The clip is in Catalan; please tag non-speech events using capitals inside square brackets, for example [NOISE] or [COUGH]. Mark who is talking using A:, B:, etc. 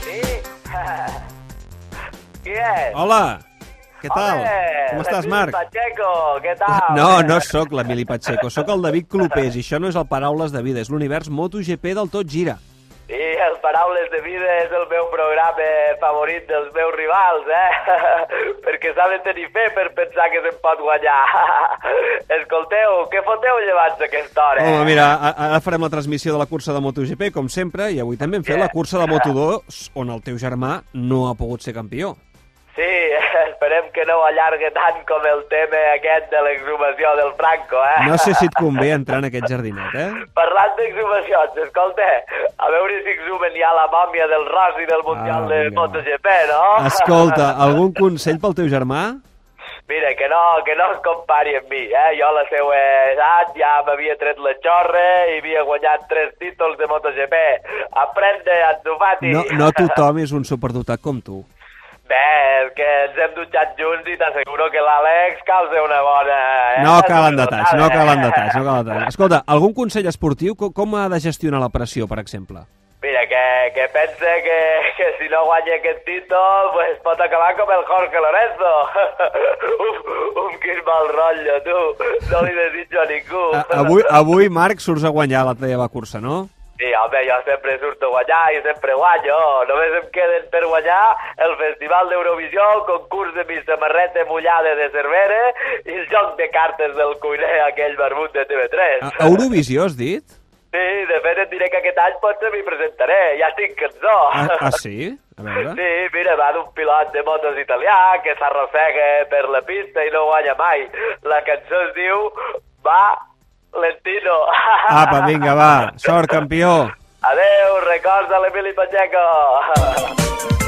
A: Sí. [LAUGHS] Qui és?
B: Hola! Què tal?
A: Home,
B: Com estàs,
A: l'Emili
B: Marc?
A: Pacheco, què tal?
B: [LAUGHS] No, no sóc l'Emili Pacheco, sóc el David Clopés i això no és el Paraules de Vida, és l'univers MotoGP del Tot Gira.
A: I el Paraules de Vida és el meu programa favorit dels meus rivals, eh? [LAUGHS] Perquè s'ha de tenir fe per pensar que se'n pot guanyar. [LAUGHS] Escolteu, què foteu llevats a aquesta hora?
B: Home, mira, a- ara farem la transmissió de la cursa de MotoGP, com sempre, i avui també hem fet la cursa de Moto2, on el teu germà no ha pogut ser campió.
A: Sí, [LAUGHS] esperem que no ho allargue tant com el tema aquest de l'exhumació del Franco, eh?
B: No sé si et convé entrar en aquest jardinet, eh?
A: Parlant d'exhumacions, escolta, a veure si exhumen ja la mòmia del Rossi del Mundial
B: Ah,
A: de
B: vinga, va.
A: MotoGP, no? [LAUGHS]
B: Escolta, algun consell pel teu germà?
A: Mira, que no, que no es compari amb mi, eh? Jo a la seva edat ja m'havia tret la xorra i havia guanyat tres títols de MotoGP. Aprende, Anzufati!
B: No, no tothom és un superdotat com tu.
A: [LAUGHS] Bé, és que ens hem dutxat junts i t'asseguro que l'Àlex causa una bona... Eh?
B: No calen detalls, no calen detalls,
A: [LAUGHS]
B: no calen detalls. Escolta, algun consell esportiu? Co- Com ha de gestionar la pressió, per exemple?
A: Mira, que, que pense que, que si no guanya aquest títol, pues pot acabar com el Jorge Lorenzo. [LAUGHS] uf, uf, quin mal rotllo, tu. No li desitjo a ningú.
B: A- Avui, avui Marc, surts a guanyar la teva cursa, no?
A: Sí, home, jo sempre surto a guanyar i sempre guanyo. Només em queden per guanyar el Festival d'Eurovisió, el concurs de Miss Samarreta Mullada de Cervera i el joc de cartes del cuiner, aquell barbut de TV3.
B: A a Eurovisió, has dit?
A: Sí, de fet et diré que aquest any potser m'hi presentaré, ja tinc cançó.
B: Ah, ah sí? A veure...
A: Sí, mira, va d'un pilot de motos italià que s'arrossega per la pista i no guanya mai. La cançó es diu Va Lentino.
B: Apa, vinga, va. Sort, campió.
A: Adeu, records a l'Emili Pacheco.